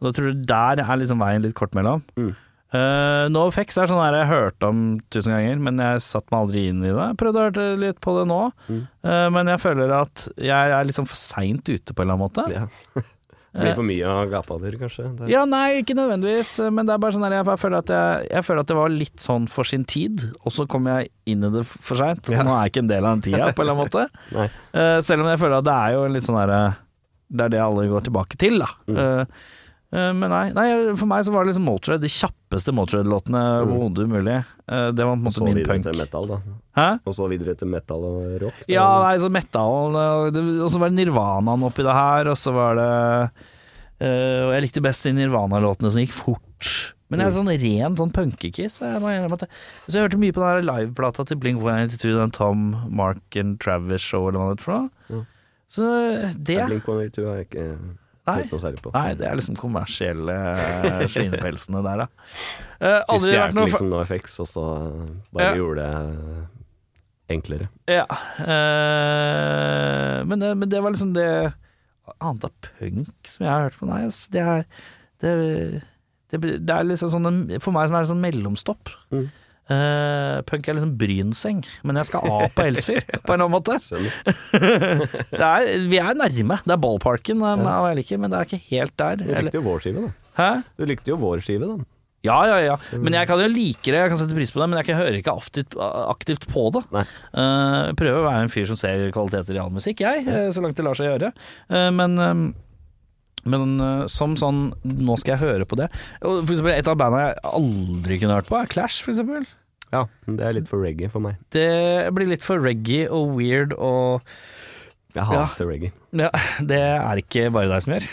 Og da tror du der er liksom veien litt kort mellom.
Mm.
Eh, no effects er sånn her jeg har hørt om tusen ganger, men jeg satt meg aldri inn i det. Prøvde å høre litt på det nå,
Mm.
eh, men jeg føler at jeg er liksom for seint ute på en eller annen måte.
Ja. Det blir for mye av gapader, kanskje. Det-
Ja, nei, ikke nødvendigvis, men det er bare sånn der, jeg, bare føler at jeg, jeg føler at det var litt sånn for sin tid, og så kom jeg inn i det for seint.
Ja.
Nå er jeg ikke en del av den tida, på en eller annen måte.
Nei.
Eh, selv om jeg føler at det er jo en litt sånn derre Det er det alle går tilbake til, da.
Mm.
Eh, eh, men nei, nei, for meg så var det liksom Motörhead, de kjappeste Motörhead-låtene overhodet mulig. Eh, det var på en
Og
måte
Mm. så
min
videre
punk.
til metal, da.
Hæ?
Og så videre til metal og rock.
Ja, nei, så metallen og det- Og så var det Nirvanaen oppi det her, og så var det eh, Og jeg likte best de Nirvana-låtene som gikk fort. Men jeg er
Mm.
sånn ren sånn punkekiss. Så jeg, må innrømme at jeg, så jeg hørte mye på den her liveplata til Blink 182, den Tom, Mark and Travis Show, eller hva det er for noe.
Ja.
Så det
Blink-182 har jeg ikke
Nei.
Ikke noe særlig på.
Nei, det er liksom kommersielle eh, svinepelsene der, da. Eh,
De
aldri vært
stjal
noe
liksom NoFX, og så eh, bare
Ja.
gjorde det enklere.
Ja. eh, men, det, men det var liksom det annet av punk som jeg har hørt på. Nei, ass, det er det, det, blir- det er liksom sånn en, For meg som er en sånn mellomstopp.
Mm.
Eh, punk er liksom brynseng, men jeg skal av på Elsfyr, på en eller annen måte.
Skjønner.
Det er, vi er nærme. Det er ballparken eh, med hva jeg liker, men det er ikke helt der.
Du
Eller,
likte jo vår skive, da.
hæ?
Du likte jo vår skive, da.
Ja, ja, ja. Men jeg kan jo like det, jeg kan sette pris på det, men jeg kan- hører ikke aktivt, aktivt på det.
Nei.
Eh, jeg prøver å være en fyr som ser kvaliteter i all musikk, jeg, eh, så langt det lar seg gjøre. Eh, men eh, men eh, som sånn Nå skal jeg høre på det. Og For eksempel, et av bandene jeg aldri kunne hørt på, er Clash, for eksempel.
Ja, det er litt for reggae for meg.
Det blir litt for reggae og weird og
Jeg
Ja.
hater reggae.
Ja, det er ikke bare deg som gjør.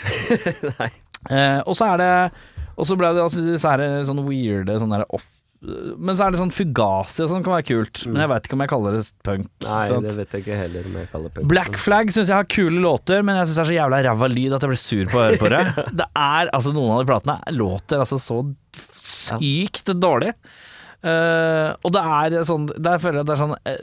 Eh, og så er det Og så ble det altså, disse her sånne weirde sånne her off men så er det sånn fugasi og sånn kan være kult, men jeg veit ikke om jeg kaller det punk.
Mm. Nei,
ikke sant?
det vet jeg ikke heller om jeg kaller punk.
Black Flag syns jeg har kule låter, men jeg syns det er så jævla ræva lyd at jeg blir sur på å høre på det. Det er altså Noen av de platene låter altså så sykt dårlig. Eh, og det er sånn Der føler jeg at det er sånn eh,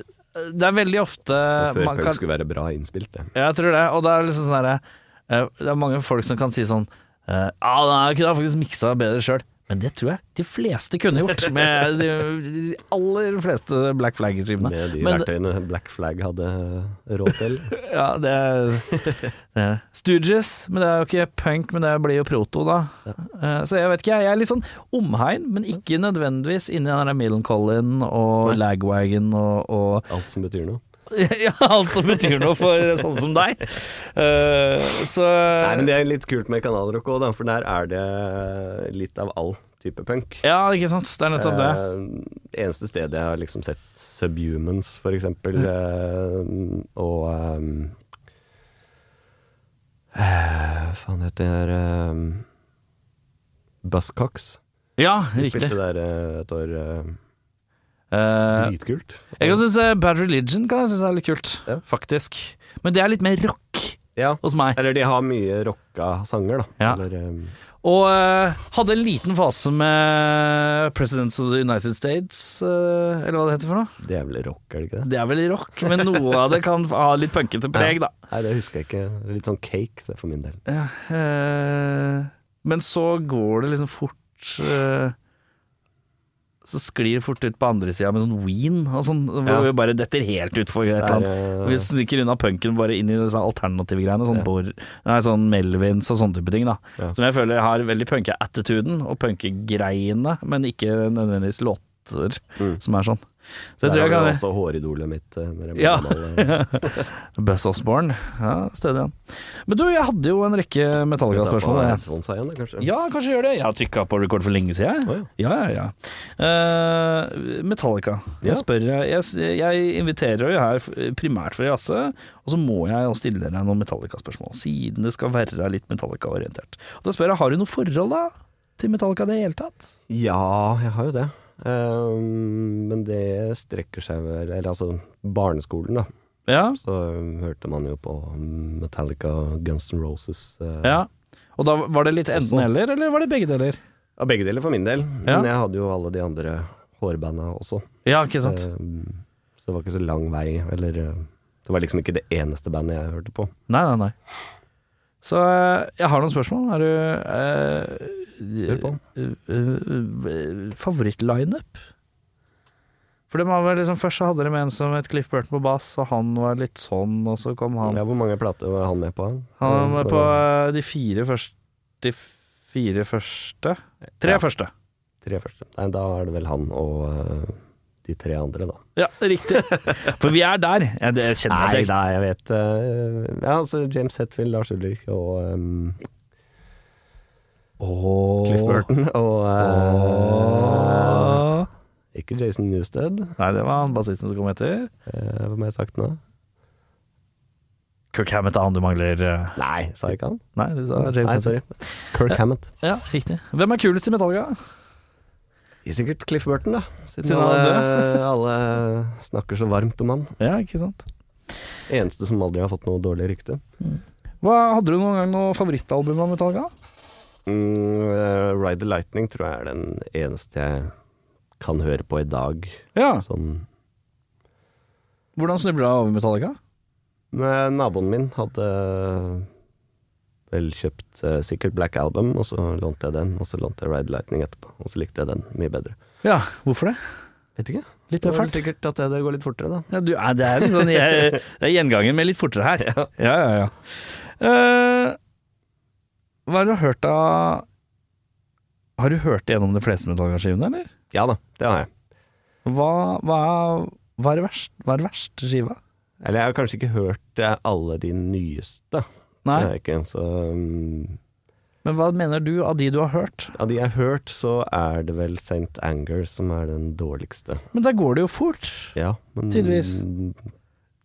Det er veldig ofte
Før
man
punk
kan-
skulle være bra innspilt, det.
ja, jeg tror det. Og det er liksom sånn derre eh, Det er mange folk som kan si sånn eh, Ja, nei, jeg kunne ha faktisk miksa bedre sjøl. Men det tror jeg de fleste kunne gjort, med de, de aller fleste Black Flag-skivene.
Med de
Men-
verktøyene Black Flag hadde råd til.
Ja, det er, det er Stooges, men det er jo ikke punk, men det blir jo proto, da. Eh, Så jeg vet ikke, jeg. Jeg er litt sånn omhegn, men ikke nødvendigvis inni den der Millencolin og Lagwagon og, og
Alt som betyr noe.
Ja, alt som betyr noe for sånne som deg. Eh, Så
Nei, men Det er litt kult med kanalrock òg, for der er det litt av all type punk.
Ja, ikke sant. Det er nettopp det.
Eh, eneste stedet jeg har liksom sett Subhumans, for eksempel,
Mm.
eh, og eh, eh, Faen heter uh, Buzzcocks.
Ja,
De
riktig.
Spilte der eh, et år. eh,
Eh,
dritkult.
jeg kan synes eh, Bad Religion kan jeg synes er litt kult,
Ja.
faktisk. Men det er litt mer rock
Ja.
hos meg.
Eller de har mye rocka sanger, da.
Ja.
Eller, eh,
Og eh, hadde en liten fase med Presidents of the United States, eh, eller hva det heter for noe.
det er vel rock, er det ikke det?
Det er vel rock, men noe av det kan ha litt punkete preg, da.
Nei, det husker jeg ikke. Litt sånn cake, det, for min del.
Ja, eh, men så går det liksom fort eh, Så sklir det fort ut på andre sida med sånn Ween og sånn, hvor
Ja.
vi bare detter helt utfor et eller annet.
Der, eh,
Vi sniker unna punken bare inn i disse alternative greiene. Sånn,
Ja.
Bor, nei, sånn Melvins og sånne type ting. da
Ja.
Som jeg føler har veldig punke-attituden og punke-greiene, men ikke nødvendigvis låter
Mm.
som er sånn. Så jeg
der
tror jeg
har
kan
vi også håridolet mitt. eh, Når jeg ble
Ja.
gammel, eh.
Buzz Osborne. Ja, stødig han. Men du, jeg hadde jo en rekke
Skal vi ta på
Metallica-spørsmål. jeg.
headphones her igjen, da, kanskje?
Ja, kanskje gjør det. Jeg har trykka på record for lenge siden. jeg.
Å, ja.
Ja, ja, ja. Eh, Metallica.
Ja.
Jeg spør eh, jeg, jeg inviterer jo her primært for å jazze, og så må jeg jo stille deg noen Metallica-spørsmål, siden det skal være litt Metallica-orientert. Og da spør jeg, har du noe forhold da til Metallica i det hele tatt?
Ja, jeg har jo det. Ehm, men det strekker seg vel Eller altså, barneskolen, da.
Ja.
Så um, hørte man jo på Metallica og Guns N' Roses. eh,
ja. Og da var det litt enten-eller, eller var det begge deler?
Av begge deler, for min del.
Ja.
Men jeg hadde jo alle de andre hårbanda også.
Ja, ikke sant?
Um, Så det var ikke så lang vei, eller uh, Det var liksom ikke det eneste bandet jeg hørte på.
Nei, nei, nei. Så eh, jeg har noen spørsmål. Er du eh,
Hør på.
eh, eh, favorittlineup? For de har vel liksom, Først så hadde de en som het Cliff Burton på bass, og han var litt sånn, og så kom han
Ja, hvor mange plater var han med på?
Han
Ja,
var på eh, de fire første De fire første? Tre
Ja.
første.
Tre første. Nei, da er det vel han og uh, de tre andre, da.
Ja, riktig. For vi er der. Ja, det kjenner jeg til.
nei, jeg vet uh, Ja, altså James Hetfield, Lars Ulrik og um, Cliff Burton og uh,
Åh.
Ikke Jason Newsted.
Nei, det var han bassisten som kom etter.
Uh, hva må jeg ha sagt nå?
Kirk Hammett er han du mangler eh,
Nei, sa jeg ikke han?
Nei, du sa James
Nei,
Hetfield.
sorry. Kirk Hammett.
Ja, riktig. Hvem er kulest i Metallica?
Sikkert Cliff Burton, da. Siden,
Siden han er
alle, alle snakker så varmt om han.
Ja, ikke sant.
Eneste som aldri har fått noe dårlig rykte.
Hva, hadde du noen gang noe favorittalbum av Metallica?
Mm, eh, Ride the Lightning tror jeg er den eneste jeg kan høre på i dag.
Ja.
Sånn.
Hvordan snubla jeg over Metallica?
Men naboen min hadde vel kjøpt eh, sikkert Black Album, og så lånte jeg den, og så lånte jeg Ride the Lightning etterpå, og så likte jeg den mye bedre.
Ja, hvorfor det?
Vet ikke.
Litt mer
Det er vel
fart?
sikkert at det går litt fortere, da.
Ja, du, er- det er litt sånn jeg, Det er gjengangen, men litt fortere her. Ja, ja, ja. Eh, hva har du hørt av Har du hørt gjennom de fleste Metallica-skivene, eller?
Ja da, det har jeg.
Hva, hva, hva er det verst- hva er det verste skiva?
Eller jeg har kanskje ikke hørt eh, alle de nyeste. Det har
Nei,
jeg ikke, så mm,
men hva mener du av de du har hørt?
Av de jeg har hørt, så er det vel St. Anger som er den dårligste.
Men der går det jo fort.
Ja, men
Tydeligvis.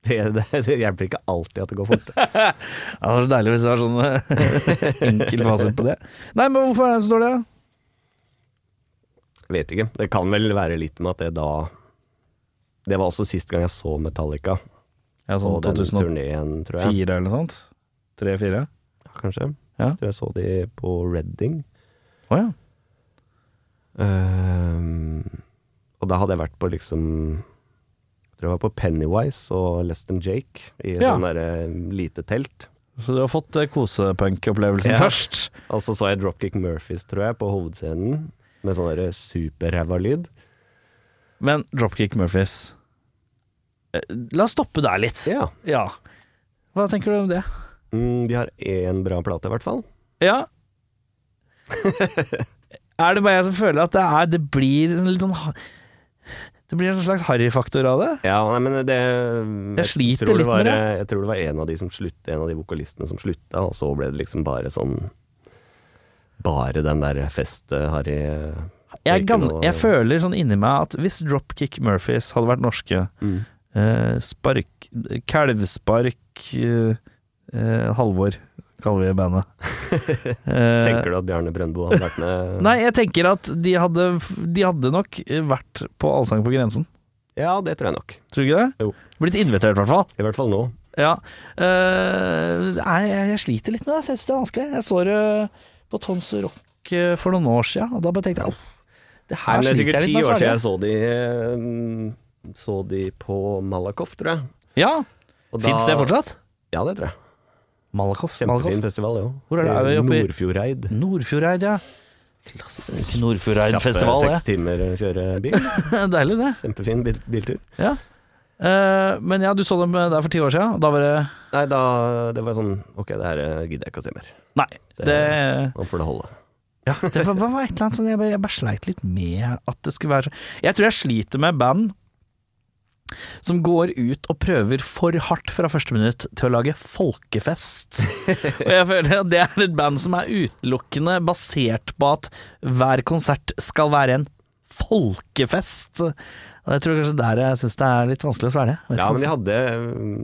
Det, det, det hjelper ikke alltid at det går fort.
Ja, det var så deilig hvis det var sånn eh, enkel fasit på det. Nei, men hvorfor er det så dårlig? da?
Vet ikke. Det kan vel være litt med at det da Det var også sist gang jeg så Metallica.
Ja,
På
sånn
den
2004
turneen, tror jeg.
eller noe sånt? 3-4?
Kanskje.
Ja.
Jeg tror jeg så de på Redding.
Å ja.
Ehm, og da hadde jeg vært på liksom Jeg tror jeg var på Pennywise og Less Than Jake i
Ja.
sånn derre lite telt.
Så du har fått eh, kosepunk-opplevelsen
Ja.
først?
Og Altså så så jeg Dropkick Murphys, tror jeg, på hovedscenen. Med sånn derre superræva lyd.
Men Dropkick Murphys Eh, La oss stoppe der litt.
Ja.
Ja. Hva tenker du om det?
Mm, de har én bra plate, i hvert fall.
Ja. er det bare jeg som føler at det, er, det blir en litt sånn ha- Det blir en slags harryfaktor av det?
Ja, nei, men det
Jeg sliter
tror
litt
var, eh,
med det.
Jeg tror det var en av de, som slutt, en av de vokalistene som slutta, og så ble det liksom bare sånn Bare den der eh, fest-harry
Jeg, er
Ikke
gam-
noe-
jeg føler sånn inni meg at hvis Dropkick Murphys hadde vært norske eh, Spark Kalvspark eh, eh, Halvor, kaller vi bandet. Eh,
Tenker du at Bjarne Brøndbo hadde vært med?
Nei, jeg tenker at de hadde, de hadde nok vært på Allsang på grensen.
Ja, det tror jeg nok.
Tror du ikke det?
Jo.
Blitt invitert, i hvert fall.
I hvert fall nå.
Ja. Eh, nei, jeg, jeg sliter litt med det. Jeg syns det er vanskelig. Jeg så det på Tons Rock eh, for noen år siden, og da bare tenkte jeg «Åh, det her
Men det er
sliter
sikkert
jeg
ti
litt med.
år siden
svarer
jeg så de, eh, så de på Malakoff, tror jeg.
Ja,
Og da-
Fins det fortsatt?
Ja, det tror jeg.
Malakoff.
Kjempefin festival, jo.
Hvor er det? Er vi oppe i-
Nordfjordeid.
Nordfjordeid, ja. Klassisk Nordfjordeid-festival,
Eh, Seks timer å kjøre bil.
det. Deilig, det.
Kjempefin bil biltur.
Ja. Eh, men ja, du så dem der for ti år siden, og da var det
Nei, da Det var sånn Ok, det her eh, gidder jeg ikke å se mer.
Nei,
Det-
det
Nå får det holde.
Det var, var et eller annet sånn jeg bare, jeg bare sleit litt med at det skulle være sånn Jeg tror jeg sliter med band som går ut og prøver for hardt fra første minutt til å lage folkefest. Og jeg føler at det er et band som er utelukkende basert på at hver konsert skal være en folkefest. Og jeg tror kanskje der jeg syns det er litt vanskelig å svelge. Jeg vet
Ja,
ikke
men de hadde eh,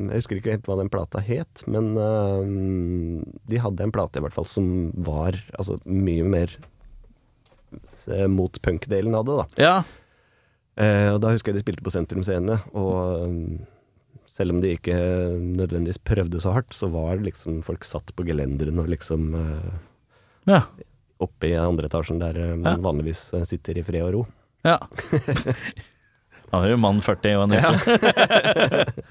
Jeg husker ikke helt hva den plata het, men eh, de hadde en plate i hvert fall som var altså mye mer eh, mot punk-delen av det, da.
hvorfor. ja.
Eh, og da husker jeg de spilte på Sentrum Scene, og eh, selv om de ikke nødvendigvis prøvde så hardt, så var det liksom folk satt på gelenderen og liksom eh,
ja.
oppe i andre etasjen der eh, man vanligvis eh, sitter i fred og ro.
Ja. Han er jo mann 40 og en uke.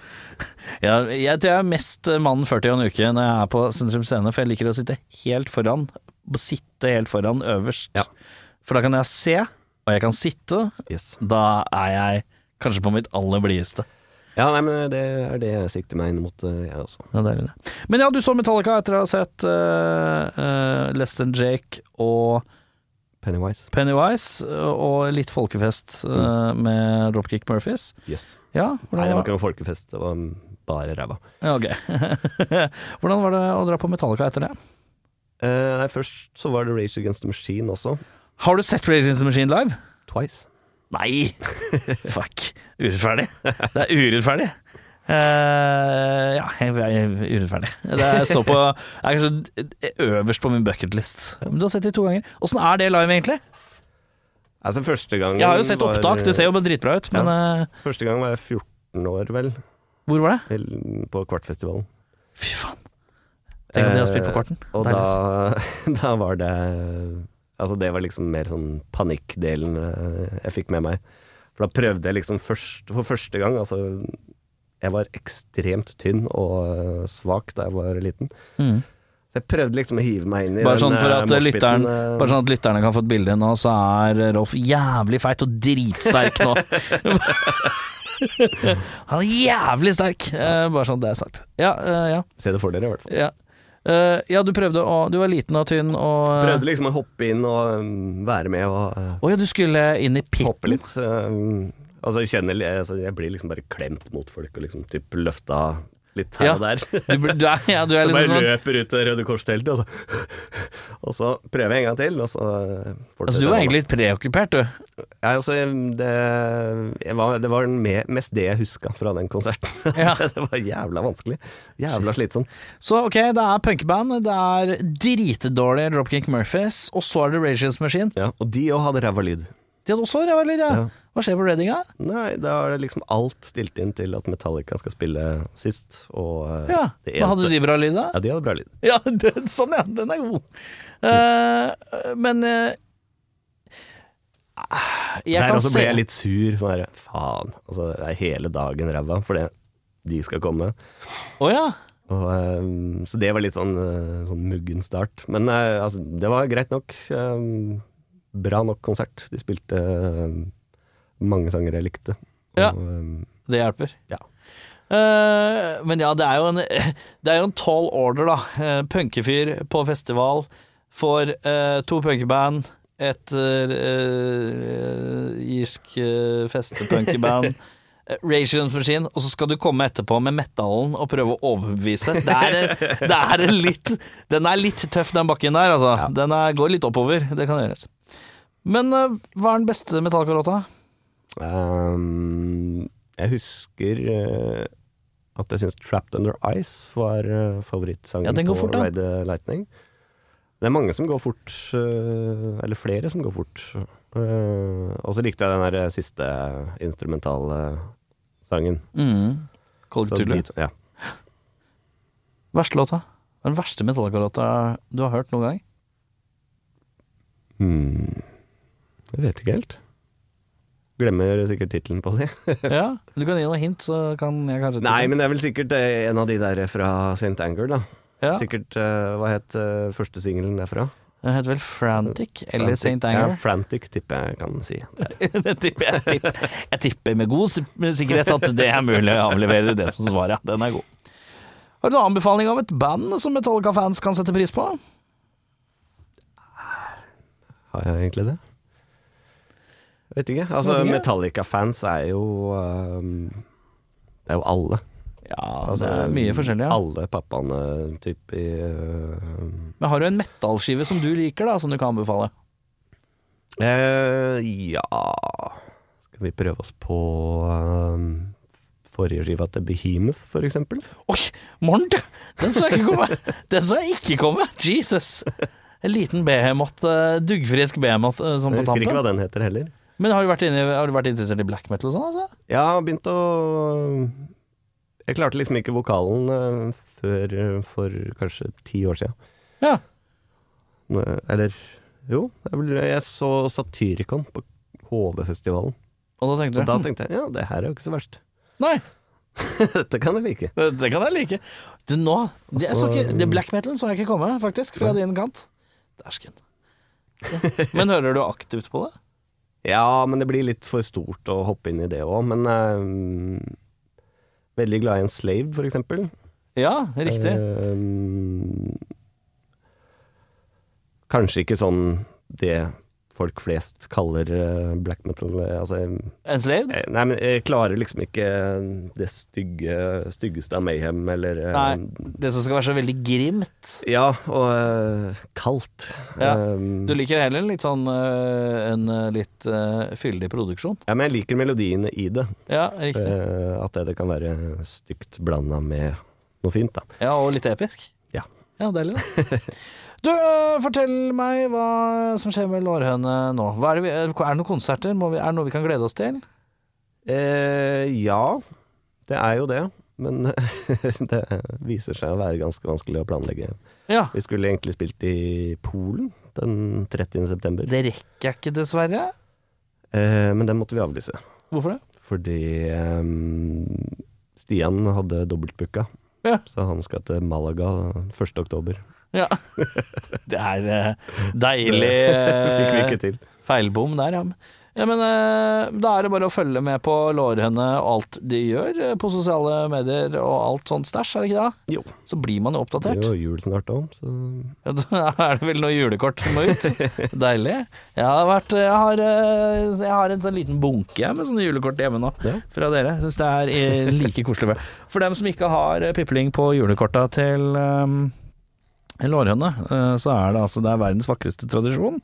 ja, jeg tror jeg er mest mann 40 og en uke når jeg er på Sentrum Scene, for jeg liker å sitte helt foran. Sitte helt foran øverst.
Ja.
For da kan jeg se, og jeg kan sitte.
Yes.
Da er jeg kanskje på mitt aller blideste.
Ja, nei, men det er det jeg sikter meg inn mot, eh, jeg også.
Ja, deilig det. Men ja, du så Metallica etter å ha sett uh, Less Than Jake og
Pennywise.
Pennywise, og litt folkefest eh, med Dropkick Murphys.
Yes.
Ja, hvordan
Nei,
var-
det var ikke noen folkefest, det var mm, bare ræva.
Ja, ok. Hvordan var det å dra på Metallica etter det?
Eh, nei, først så var det Rage Against the Machine også.
Har du sett Rage Against the Machine live?
Twice.
Nei! Fuck. Urettferdig. Det er urettferdig. Eh, ja, jeg er urettferdig. Det står på Det er kanskje øverst på min bucketlist. Men du har sett de to ganger. Åssen er det live, egentlig?
Altså, første gangen
Jeg har jo sett
var-
opptak, det ser jo bare dritbra ut, men eh,
Første gang var jeg 14 år, vel,
hvor var det?
eller på Kvartfestivalen.
Fy faen. Tenk at de har spilt på korten.
Eh, Og da, da var det Altså, det var liksom mer sånn panikkdelen eh, jeg fikk med meg. For da prøvde jeg liksom først, for første gang Altså, jeg var ekstremt tynn og eh, svak da jeg var liten.
Mm.
Så jeg prøvde liksom å hive meg inn i
Bare
den
sånn for
eh,
at
moshpiten,
lytteren
eh,
Bare sånn at lytterne kan få et bilde nå, så er eh, Rolf jævlig feit og dritsterk nå. Han er jævlig sterk, eh, bare sånn at det er sagt. Ja, eh, ja.
Se det for dere, i hvert fall.
Ja, Eh, ja du prøvde å Du var liten og tynn og eh,
Prøvde liksom å hoppe inn og um, være med og eh,
Å ja, du skulle inn i pitten.
hoppe litt. Um, altså, jeg kjenner jeg, altså, Jeg blir liksom bare klemt mot folk og liksom typ løfta litt her
Ja.
og der.
Du, bl- du er, ja, du er
Så
liksom
bare
sånn
løper ut til Røde Kors-teltet, og, så- og så prøver jeg en gang til. Og så eh,
Altså, du
fortsetter
var
jeg
egentlig litt preokkupert, du.
sånn. ja, altså, det, jeg var, det var den me- mest det jeg huska fra den konserten.
Ja.
det var jævla vanskelig. Jævla slitsomt.
Så ok, det er punkeband, det er dritdårlig Dropkick Murphys, og så er det Rage Against the Machine.
Ja, og de òg hadde ræva lyd.
De hadde også ræva lyd, ja.
Ja.
Hva skjer for Reading, da?
Nei, da er det liksom alt stilt inn til at Metallica skal spille sist, og eh,
Ja.
det
Men hadde
eneste
de bra lyd, da?
Ja, de hadde bra lyd.
Ja, den, sånn ja, den er god. Eh, men eh, ah, jeg
Der
kan
også
se
ble jeg litt sur. Sånn her, faen. Altså, det er hele dagen ræva fordi de skal komme.
Å ja.
Og, eh, så det var litt sånn, eh, sånn muggen start. Men eh, altså, det var greit nok. eh, bra nok konsert. De spilte eh, mange sanger jeg likte.
Ja.
Og, eh,
Det hjelper.
Ja.
Eh, men ja, det er jo en Det er jo en tall order, da. Eh, Punkefyr på festival får eh, to punkeband, et eh, irsk eh, festepunkeband, eh, Rage Against the Machine, og så skal du komme etterpå med metallen og prøve å overbevise. Det er, det er en litt Den er litt tøff, den bakken der, altså. Den er, går litt oppover. Det kan gjøres. Men eh, hva er den beste metallkarlåta?
Ehm, jeg husker eh, at jeg syns 'Trapped Under Ice' var eh, favorittsangen
Ja, den går
på
fort, den.
Ride the Lightning. Det er mange som går fort, eh, eller flere som går fort. Eh, og så likte jeg den der siste instrumentale sangen.
Mm. Cold
Så
Tulip.
de to- ja.
Verste låta? Den verste Metallica-låta du har hørt noen gang?
hmm. Jeg vet ikke helt. Glemmer sikkert tittelen på det.
Ja, Du kan gi noen hint, så kan jeg kanskje
Nei, men det er vel sikkert eh, en av de der fra St. Anger, da.
ja.
Sikkert, eh, hva het eh, første singelen derfra?
Den heter vel Frantic eller
Frantic.
St.
Ja,
Anger.
frantic tipper jeg kan si. Det
jeg, tipper, jeg, tipper, jeg tipper med god si- med sikkerhet at det er mulig å avlevere det som svar, ja. Den er god. Har du en anbefaling av et band som Metallica-fans kan sette pris på?
Har jeg egentlig det? Vet ikke. Altså,
Vet ikke.
Metallica-fans er jo ehm, Det er jo alle.
Ja,
Altså,
det er mye forskjellig. Ja.
Alle pappaene typ i eh,
Men har du en metallskive som du liker, da, som du kan anbefale?
eh, Ja Skal vi prøve oss på ehm, forrige skiva til Behemoth, for eksempel?
Oi, Mornt! Den så jeg ikke komme! Den så jeg ikke komme! Jesus! En liten behemoth, eh, duggfrisk behemoth eh, sånn på
Jeg husker ikke
tampen.
hva den heter heller.
Men har du vært, inne, har du vært interessert i black metal og sånn, altså?
Ja, begynt å um, Jeg klarte liksom ikke vokalen eh, før eh, for kanskje ti år siden.
Ja.
Nå- Eh, Eller jo, jeg, ble, jeg så Satyricon på HV-festivalen.
Og da tenkte
Og
du
da
hm,
tenkte jeg ja, det her er jo ikke så verst.
Nei,
Dette kan jeg like.
det, det kan jeg like. Det nå det, jeg så
Altså,
ikke, det black metal så jeg ikke komme, faktisk, fra
Nei.
din kant. Dæsken. Ja. Men hører du aktivt på det?
Ja, men det blir litt for stort å hoppe inn i det òg. Men eh, veldig glad i en slave, for eksempel.
Ja, riktig.
Eh, kanskje ikke sånn det folk flest kaller eh, black metal. eh, Altså, jeg,
Enslaved?
eh, nei, men jeg klarer liksom ikke det stygge, styggeste av Mayhem, eller eh,
Nei. Det som skal være så veldig grimt.
Ja, og eh, kaldt.
Ja,
Eh,
Du liker heller litt sånn øh, en øh, litt øh, fyldig produksjon?
ja, men jeg liker melodiene i det.
Ja, riktig.
Eh, at det, det kan være stygt blanda med noe fint, da.
Ja, og litt episk?
Ja.
Ja, deilig det. Du, øh, fortell meg hva som skjer med Lårhøne nå. Hva er, det vi, er det noen konserter? Må vi, er det noe vi kan glede oss til?
Eh, ja, det er jo det. Men det viser seg å være ganske vanskelig å planlegge.
Ja.
Vi skulle egentlig spilt i Polen den 30. september,
Det rekker jeg ikke, dessverre.
eh, men den måtte vi avlyse.
Hvorfor det?
Fordi eh, Stian hadde dobbeltbooka,
Ja.
så han skal til Malaga 1. oktober.
Ja. Det er eh, deilig
Fikk vi
eh,
ikke til.
feilbom der, ja. ja men eh, da er det bare å følge med på lårhøne og alt de gjør eh, på sosiale medier og alt sånt stæsj, er det ikke det?
Jo.
Så blir man jo
Det
oppdatert.
er jo jul snart òg, så
Ja, da er det vel noe julekort som må ut. Deilig. Jeg har, vært, jeg har, eh, jeg har en sånn liten bunke med sånne julekort hjemme nå,
Ja.
fra dere. Syns det er eh, like koselig. med. For dem som ikke har eh, pipling på julekorta til um, Lårhøne, eh, så er det altså det er verdens vakreste tradisjon.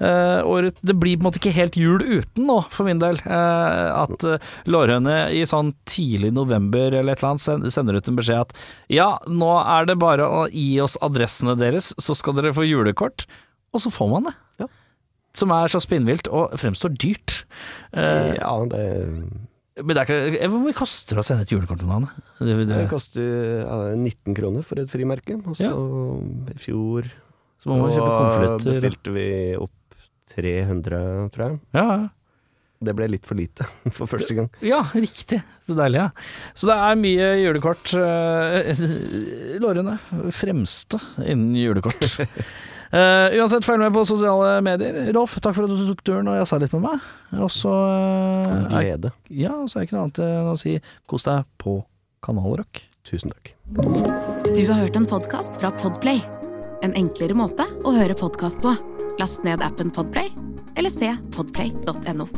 Eh, og det blir på en måte ikke helt jul uten nå, for min del. eh, at eh, lårhøne i sånn tidlig november eller et eller annet send- sender ut en beskjed at ja, nå er det bare å gi oss adressene deres, så skal dere få julekort. Og så får man det.
Ja.
Som er så spinnvilt og fremstår dyrt. Eh,
ja, det,
Men det er ikke eh, Hvor mye koster det å sende et julekort om dagen? Det, det,
det koster ja, 19 kroner for et frimerke, og så i fjor
så må man
så
kjøpe konvolutter.
bestilte vi opp 300, tror jeg.
Ja, ja.
Det ble litt for lite for første gang.
Ja, riktig. Så deilig, ja. Så det er mye julekort. eh, Lårene. Fremste innen julekort. Eh, uansett, følg med på sosiale medier. Rolf, takk for at du tok turen og jazza litt med meg. Og så eh, er,
Glede.
ja, så er det ikke noe annet enn å si kos deg på Kanal Rock.
Tusen takk.
Du har hørt en podkast fra Podplay. En enklere måte å høre podkast på. Last ned appen Podplay, eller se podplay.no.